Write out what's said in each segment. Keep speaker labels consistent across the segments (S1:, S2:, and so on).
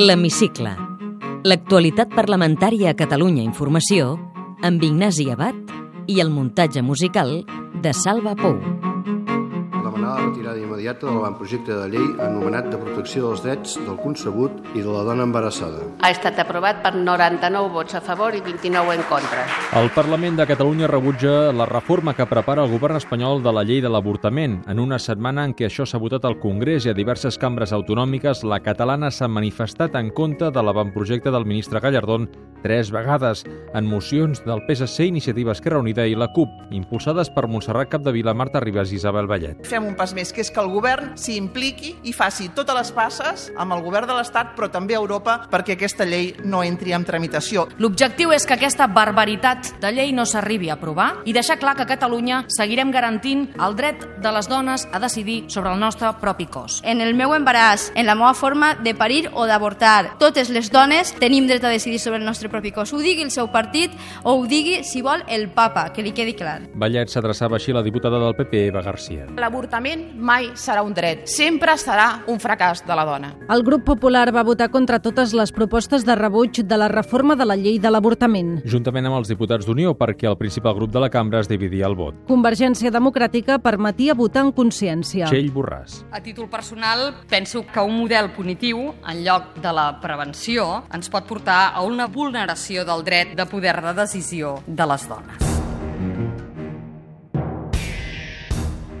S1: L'Hemicicle. L'actualitat parlamentària a Catalunya Informació amb Ignasi Abad i el muntatge musical de Salva Pou.
S2: Demanar la retirada immediata de l'avantprojecte de llei anomenat de protecció dels drets del concebut i de la dona embarassada.
S3: Ha estat aprovat per 99 vots a favor i 29 en contra.
S4: El Parlament de Catalunya rebutja la reforma que prepara el govern espanyol de la llei de l'avortament. En una setmana en què això s'ha votat al Congrés i a diverses cambres autonòmiques, la catalana s'ha manifestat en contra de l'avantprojecte del ministre Gallardón tres vegades en mocions del PSC, Iniciativa Esquerra Unida i la CUP, impulsades per Montserrat Capdevila, Marta Ribas i Isabel Vallet.
S5: Fem un pas més, que és que el govern s'hi impliqui i faci totes les passes amb el govern de l'Estat, però també a Europa, perquè aquesta llei no entri en tramitació.
S6: L'objectiu és que aquesta barbaritat de llei no s'arribi a aprovar i deixar clar que a Catalunya seguirem garantint el dret de les dones a decidir sobre el nostre propi cos.
S7: en el meu embaràs, en la meva forma de parir o d'avortar. Totes les dones tenim dret a decidir sobre el nostre propi cos. Ho digui el seu partit o ho digui, si vol, el papa, que li quedi clar.
S4: Vallet s'adreçava així a la diputada del PP, Eva Garcia.
S8: L'avortament mai serà un dret, sempre serà un fracàs de la dona.
S9: El grup popular va votar contra totes les propostes de rebuig de la reforma de la llei de l'avortament.
S4: Juntament amb els diputats d'Unió, perquè el principal grup de la cambra es dividia el vot.
S9: Convergència Democràtica permetia votar en consciència.
S4: Txell Borràs.
S10: A títol personal, penso que un model punitiu, en lloc de la prevenció, ens pot portar a una vulneració del dret de poder de decisió de les dones.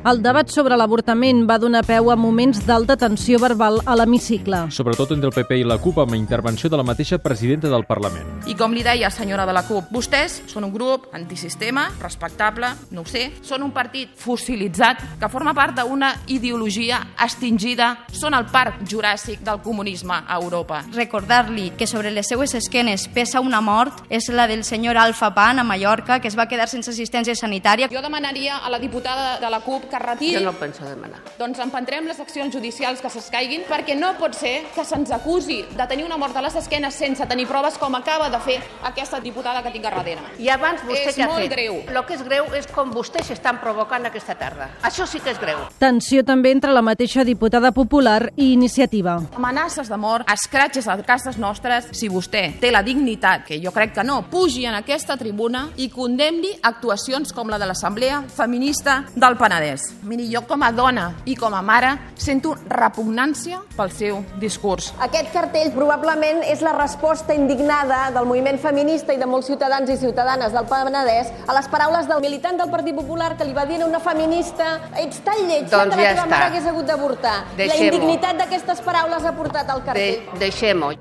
S9: El debat sobre l'avortament va donar peu a moments d'alta tensió verbal a l'hemicicle.
S4: Sobretot entre el PP i la CUP amb la intervenció de la mateixa presidenta del Parlament.
S8: I com li deia senyora de la CUP, vostès són un grup antisistema, respectable, no ho sé, són un partit fossilitzat que forma part d'una ideologia extingida, són el parc juràssic del comunisme a Europa.
S7: Recordar-li que sobre les seues esquenes pesa una mort és la del senyor Alfa Pan a Mallorca, que es va quedar sense assistència sanitària.
S8: Jo demanaria a la diputada de la CUP que retiri...
S3: Jo no ho penso demanar.
S8: Doncs emprendrem les accions judicials que s'escaiguin perquè no pot ser que se'ns acusi de tenir una mort a les esquenes sense tenir proves com acaba de fer aquesta diputada que tinc a darrere.
S3: I abans vostè
S8: És
S3: què ha
S8: molt
S3: fet?
S8: greu.
S3: Lo que és greu és com vostès s'estan provocant aquesta tarda. Això sí que és greu.
S9: Tensió també entre la mateixa diputada popular i iniciativa.
S8: Amenaces de mort, escratxes a cases nostres. Si vostè té la dignitat, que jo crec que no, pugi en aquesta tribuna i condemni actuacions com la de l'Assemblea Feminista del Penedès. Miri, jo com a dona i com a mare sento repugnància pel seu discurs.
S11: Aquest cartell probablement és la resposta indignada del moviment feminista i de molts ciutadans i ciutadanes del Penedès a les paraules del militant del Partit Popular que li va dir a una feminista ets tan lletja
S3: Doncs
S11: que la
S3: ja
S11: teva
S3: està.
S11: mare hagués hagut d'avortar. La
S3: Deixem-ho.
S11: indignitat d'aquestes paraules ha portat al
S3: De,
S11: cartell.
S3: Deixem-ho.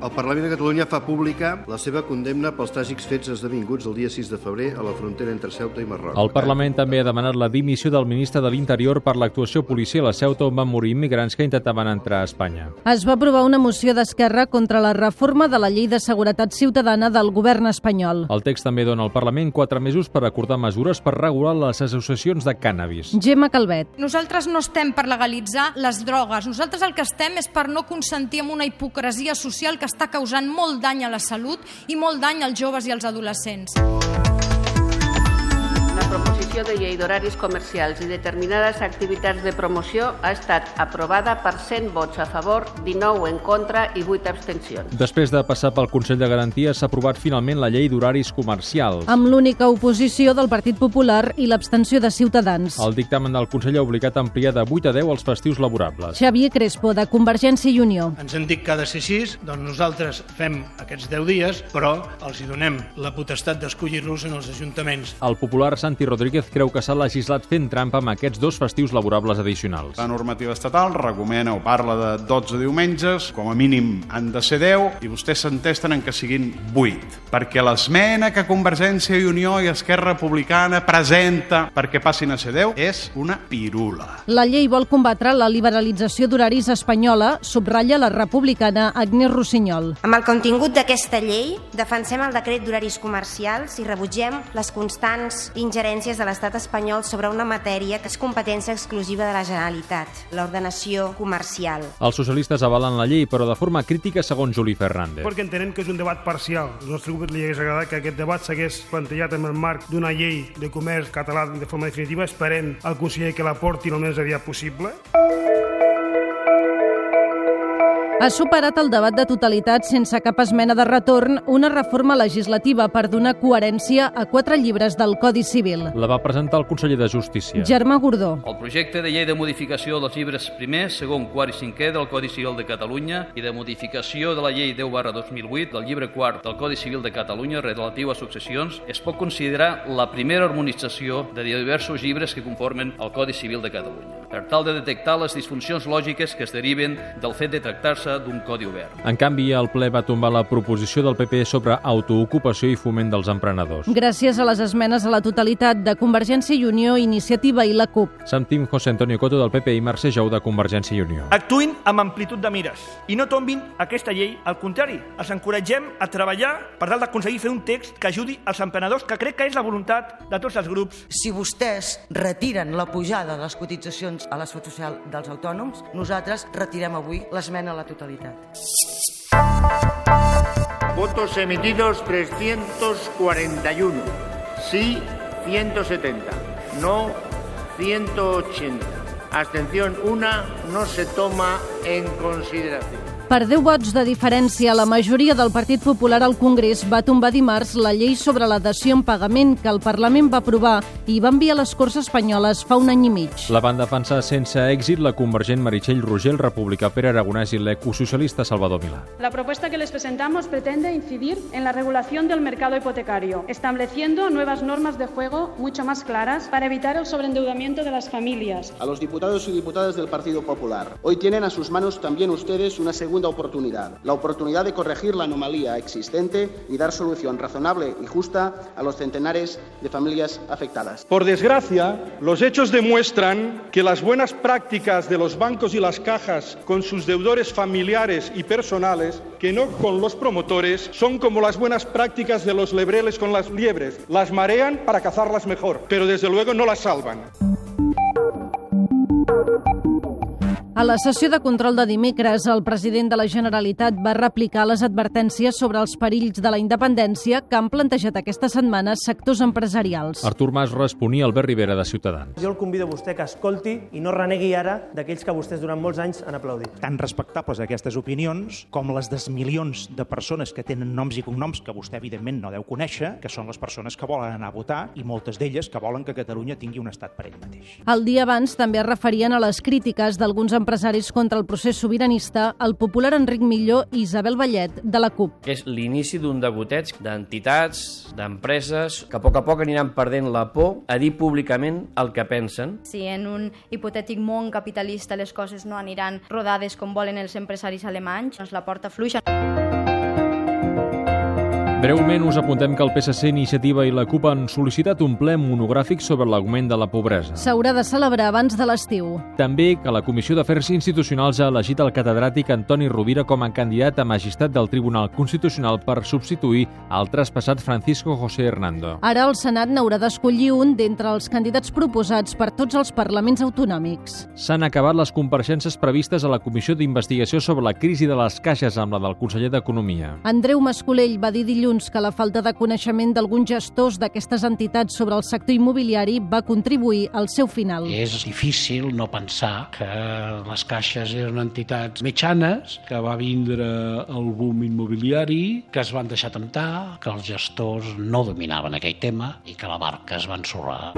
S2: El Parlament de Catalunya fa pública la seva condemna pels tràgics fets esdevinguts el dia 6 de febrer a la frontera entre Ceuta i Marroc.
S4: El Parlament també ha demanat la dimissió del ministre de l'Interior per l'actuació policial a Ceuta on van morir immigrants que intentaven entrar a Espanya.
S9: Es va aprovar una moció d'Esquerra contra la reforma de la llei de seguretat ciutadana del govern espanyol.
S4: El text també dona al Parlament quatre mesos per acordar mesures per regular les associacions de cànnabis.
S9: Gemma Calvet.
S6: Nosaltres no estem per legalitzar les drogues. Nosaltres el que estem és per no consentir amb una hipocresia social que està causant molt dany a la salut i molt dany als joves i als adolescents.
S3: La proposició de llei d'horaris comercials i determinades activitats de promoció ha estat aprovada per 100 vots a favor, 19 en contra i 8 abstencions.
S4: Després de passar pel Consell de Garantia, s'ha aprovat finalment la llei d'horaris comercials.
S9: amb l'única oposició del Partit Popular i l'abstenció de Ciutadans.
S4: El dictamen del Consell ha obligat a ampliar de 8 a 10 els festius laborables.
S9: Xavier Crespo, de Convergència i Unió.
S12: Ens han dit que ha de ser així, doncs nosaltres fem aquests 10 dies, però els hi donem la potestat d'escollir-los en els ajuntaments.
S4: El popular Santi Rodríguez creu que s'ha legislat fent trampa amb aquests dos festius laborables addicionals.
S12: La normativa estatal recomana o parla de 12 diumenges, com a mínim han de ser 10, i vostès s'entesten en que siguin 8, perquè l'esmena que Convergència i Unió i Esquerra Republicana presenta perquè passin a ser 10 és una pirula.
S9: La llei vol combatre la liberalització d'horaris espanyola, subratlla la republicana Agnès Rossinyol.
S11: Amb el contingut d'aquesta llei defensem el decret d'horaris comercials i rebutgem les constants ingerències de l'estat espanyol sobre una matèria que és competència exclusiva de la Generalitat, l'ordenació comercial.
S4: Els socialistes avalen la llei, però de forma crítica, segons Juli Fernández.
S12: Perquè entenem que és un debat parcial. Al nostre grup li hagués agradat que aquest debat s'hagués plantejat en el marc d'una llei de comerç català de forma definitiva. Esperem al conseller que la porti el més aviat possible.
S9: Ha superat el debat de totalitat sense cap esmena de retorn una reforma legislativa per donar coherència a quatre llibres del Codi Civil.
S4: La va presentar el conseller de Justícia.
S9: Germà Gordó.
S13: El projecte de llei de modificació dels llibres primer, segon, quart i cinquè del Codi Civil de Catalunya i de modificació de la llei 10 barra 2008 del llibre quart del Codi Civil de Catalunya relatiu a successions es pot considerar la primera harmonització de diversos llibres que conformen el Codi Civil de Catalunya, per tal de detectar les disfuncions lògiques que es deriven del fet de tractar-se d'un codi obert.
S4: En canvi, el ple va tombar la proposició del PP sobre autoocupació i foment dels emprenedors.
S9: Gràcies a les esmenes a la totalitat de Convergència i Unió, Iniciativa i la CUP.
S4: Sentim José Antonio Coto del PP i Mercè Jou de Convergència i Unió.
S14: Actuïn amb amplitud de mires i no tombin aquesta llei. Al contrari, els encoratgem a treballar per tal d'aconseguir fer un text que ajudi els emprenedors, que crec que és la voluntat de tots els grups.
S15: Si vostès retiren la pujada de les cotitzacions a la Seguretat Social dels autònoms, nosaltres retirem avui l'esmena a la totalitat.
S16: Votos emitidos 341. Sí 170. No 180. Abstención 1 no se toma en consideración.
S9: Per 10 vots de diferència, la majoria del Partit Popular al Congrés va tombar dimarts la llei sobre la dació en pagament que el Parlament va aprovar i va enviar a les Corts Espanyoles fa un any i mig.
S4: La van defensar sense èxit la convergent Meritxell Roger, el republicà Pere Aragonès i l'ecosocialista Salvador Milà.
S17: La propuesta que les presentamos pretende incidir en la regulación del mercado hipotecario, estableciendo nuevas normas de juego mucho más claras para evitar el sobreendeudamiento de las familias.
S18: A los diputados y diputadas del Partido Popular, hoy tienen a sus manos también ustedes una segunda oportunidad, la oportunidad de corregir la anomalía existente y dar solución razonable y justa a los centenares de familias afectadas.
S19: Por desgracia, los hechos demuestran que las buenas prácticas de los bancos y las cajas con sus deudores familiares y personales, que no con los promotores, son como las buenas prácticas de los lebreles con las liebres. Las marean para cazarlas mejor, pero desde luego no las salvan.
S9: A la sessió de control de dimecres, el president de la Generalitat va replicar les advertències sobre els perills de la independència que han plantejat aquesta setmana sectors empresarials.
S4: Artur Mas responia al Albert Rivera de Ciutadans.
S20: Jo el convido a vostè que escolti i no renegui ara d'aquells que vostès durant molts anys han aplaudit.
S21: Tan respectables aquestes opinions com les dels milions de persones que tenen noms i cognoms que vostè evidentment no deu conèixer, que són les persones que volen anar a votar i moltes d'elles que volen que Catalunya tingui un estat per ell mateix.
S9: El dia abans també es referien a les crítiques d'alguns empresaris empresaris contra el procés sobiranista, el popular Enric Milló i Isabel Vallet, de la CUP.
S22: És l'inici d'un degoteig d'entitats, d'empreses, que a poc a poc aniran perdent la por a dir públicament el que pensen.
S7: Si en un hipotètic món capitalista les coses no aniran rodades com volen els empresaris alemanys, doncs la porta fluixa.
S4: Breument us apuntem que el PSC, Iniciativa i la CUP han sol·licitat un ple monogràfic sobre l'augment de la pobresa.
S9: S'haurà de celebrar abans de l'estiu.
S4: També que la Comissió d'Afers Institucionals ha elegit el catedràtic Antoni Rovira com a candidat a magistrat del Tribunal Constitucional per substituir el traspassat Francisco José Hernando.
S9: Ara el Senat n'haurà d'escollir un d'entre els candidats proposats per tots els parlaments autonòmics.
S4: S'han acabat les compareixences previstes a la Comissió d'Investigació sobre la crisi de les caixes amb la del conseller d'Economia.
S9: Andreu Mascolell va dir dilluns dilluns que la falta de coneixement d'alguns gestors d'aquestes entitats sobre el sector immobiliari va contribuir al seu final.
S21: Eh?
S23: És difícil no pensar que les caixes eren entitats mitjanes, que va vindre el boom immobiliari, que es van deixar temptar, que els gestors no dominaven aquell tema i que la barca es va ensorrar.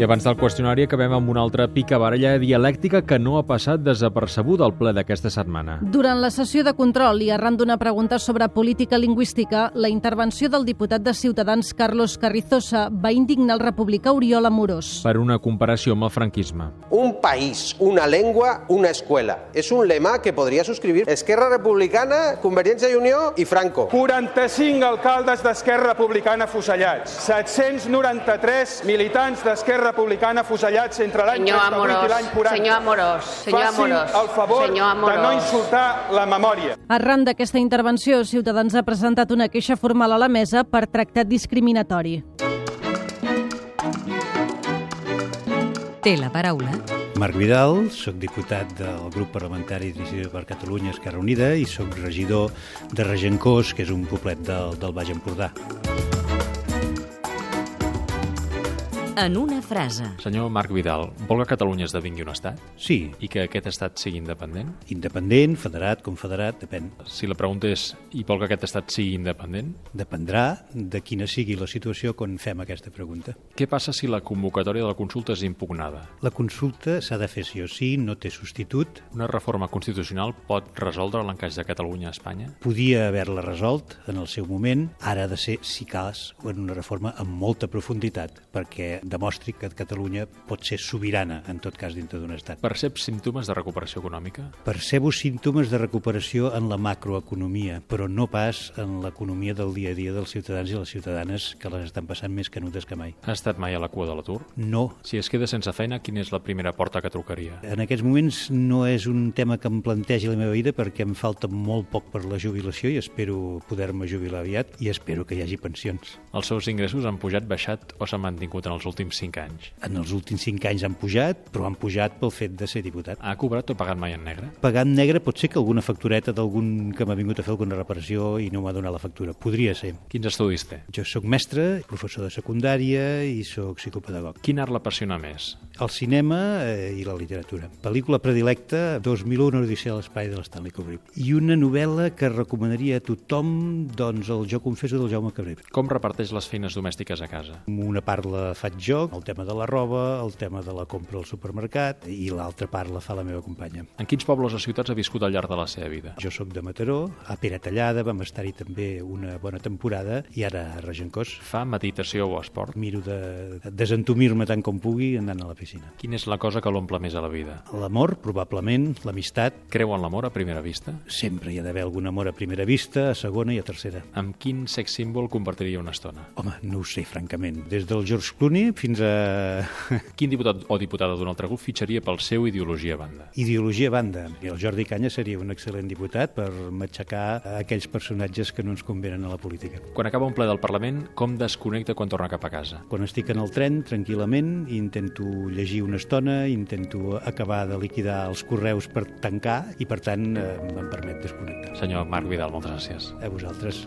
S4: I abans del qüestionari acabem amb una altra picabaralla dialèctica que no ha passat desapercebuda al ple d'aquesta setmana.
S9: Durant la sessió de control i arran d'una pregunta sobre política lingüística, la intervenció del diputat de Ciutadans Carlos Carrizosa va indignar el republicà Oriol Amorós.
S4: Per una comparació amb el franquisme.
S24: Un país, una lengua, una escuela. És es un lema que podria subscribir Esquerra Republicana, Convergència i Unió i Franco.
S19: 45 alcaldes d'Esquerra Republicana fusellats, 793 militants d'Esquerra republicana afusellats entre l'any 38 i l'any 40.
S3: Senyor Amorós, senyor Amorós.
S19: Facin el favor de no insultar la memòria.
S9: Arran d'aquesta intervenció, Ciutadans ha presentat una queixa formal a la mesa per tractat discriminatori.
S1: Té la paraula
S25: Marc Vidal, sóc diputat del grup parlamentari d'Iniciativa per Catalunya Esquerra Unida i sóc regidor de Regencós, que és un poblet del, del Baix Empordà.
S1: en una frase.
S4: Senyor Marc Vidal, vol que Catalunya esdevingui un estat?
S9: Sí.
S4: I que aquest estat sigui independent?
S9: Independent, federat, confederat, depèn.
S4: Si la pregunta és, i vol que aquest estat sigui independent?
S9: Dependrà de quina sigui la situació quan fem aquesta pregunta.
S4: Què passa si la convocatòria de la consulta és impugnada?
S9: La consulta s'ha de fer sí o sí, no té substitut.
S4: Una reforma constitucional pot resoldre l'encaix de Catalunya a Espanya?
S9: Podia haver-la resolt en el seu moment, ara ha de ser, si cas, en una reforma amb molta profunditat, perquè demostri que Catalunya pot ser sobirana, en tot cas, dintre d'un estat.
S4: Percep símptomes de recuperació econòmica?
S9: Percebo símptomes de recuperació en la macroeconomia, però no pas en l'economia del dia a dia dels ciutadans i les ciutadanes que les estan passant més canudes que mai.
S4: Ha estat mai a la cua de l'atur?
S9: No.
S4: Si es queda sense feina, quina és la primera porta que trucaria?
S9: En aquests moments no és un tema que em plantegi la meva vida perquè em falta molt poc per la jubilació i espero poder-me jubilar aviat i espero que hi hagi pensions.
S4: Els seus ingressos han pujat, baixat o s'han mantingut en els últims 5 anys?
S9: En els últims 5 anys han pujat, però han pujat pel fet de ser diputat.
S4: Ha cobrat o pagat mai en negre?
S9: Pagar en negre pot ser que alguna factureta d'algun que m'ha vingut a fer alguna reparació i no m'ha donat la factura. Podria ser.
S4: Quins estudis té?
S9: Jo sóc mestre, professor de secundària i sóc psicopedagog.
S4: Quin art l'apassiona més?
S9: El cinema eh, i la literatura. Pel·lícula predilecta, 2001, una odissea a l'espai de l'Stanley Kubrick. I una novel·la que recomanaria a tothom, doncs, el Jo confeso del Jaume Cabré.
S4: Com reparteix les feines domèstiques a casa?
S9: Una part la faig jo, el tema de la roba, el tema de la compra al supermercat, i l'altra part la fa la meva companya.
S4: En quins pobles o ciutats ha viscut al llarg de la seva vida?
S9: Jo sóc de Mataró, a Peratallada, vam estar-hi també una bona temporada, i ara a Regencós.
S4: Fa meditació o esport?
S9: Miro de desentumir-me tant com pugui anant a la piscina.
S4: Quina és la cosa que l'omple més a la vida?
S9: L'amor, probablement, l'amistat.
S4: Creu en l'amor a primera vista?
S9: Sempre hi ha d'haver algun amor a primera vista, a segona i a tercera.
S4: Amb quin sex símbol compartiria una estona?
S9: Home, no ho sé, francament. Des del George Clooney fins a...
S4: Quin diputat o diputada d'un altre grup fitxaria pel seu ideologia a banda?
S9: Ideologia a banda. I el Jordi Canya seria un excel·lent diputat per matxacar aquells personatges que no ens convenen a la política.
S4: Quan acaba un ple del Parlament, com desconnecta quan torna cap a casa?
S9: Quan estic en el tren, tranquil·lament, intento llegir una estona, intento acabar de liquidar els correus per tancar i, per tant, eh, em permet desconnectar.
S4: Senyor Marc Vidal, moltes gràcies.
S9: A vosaltres.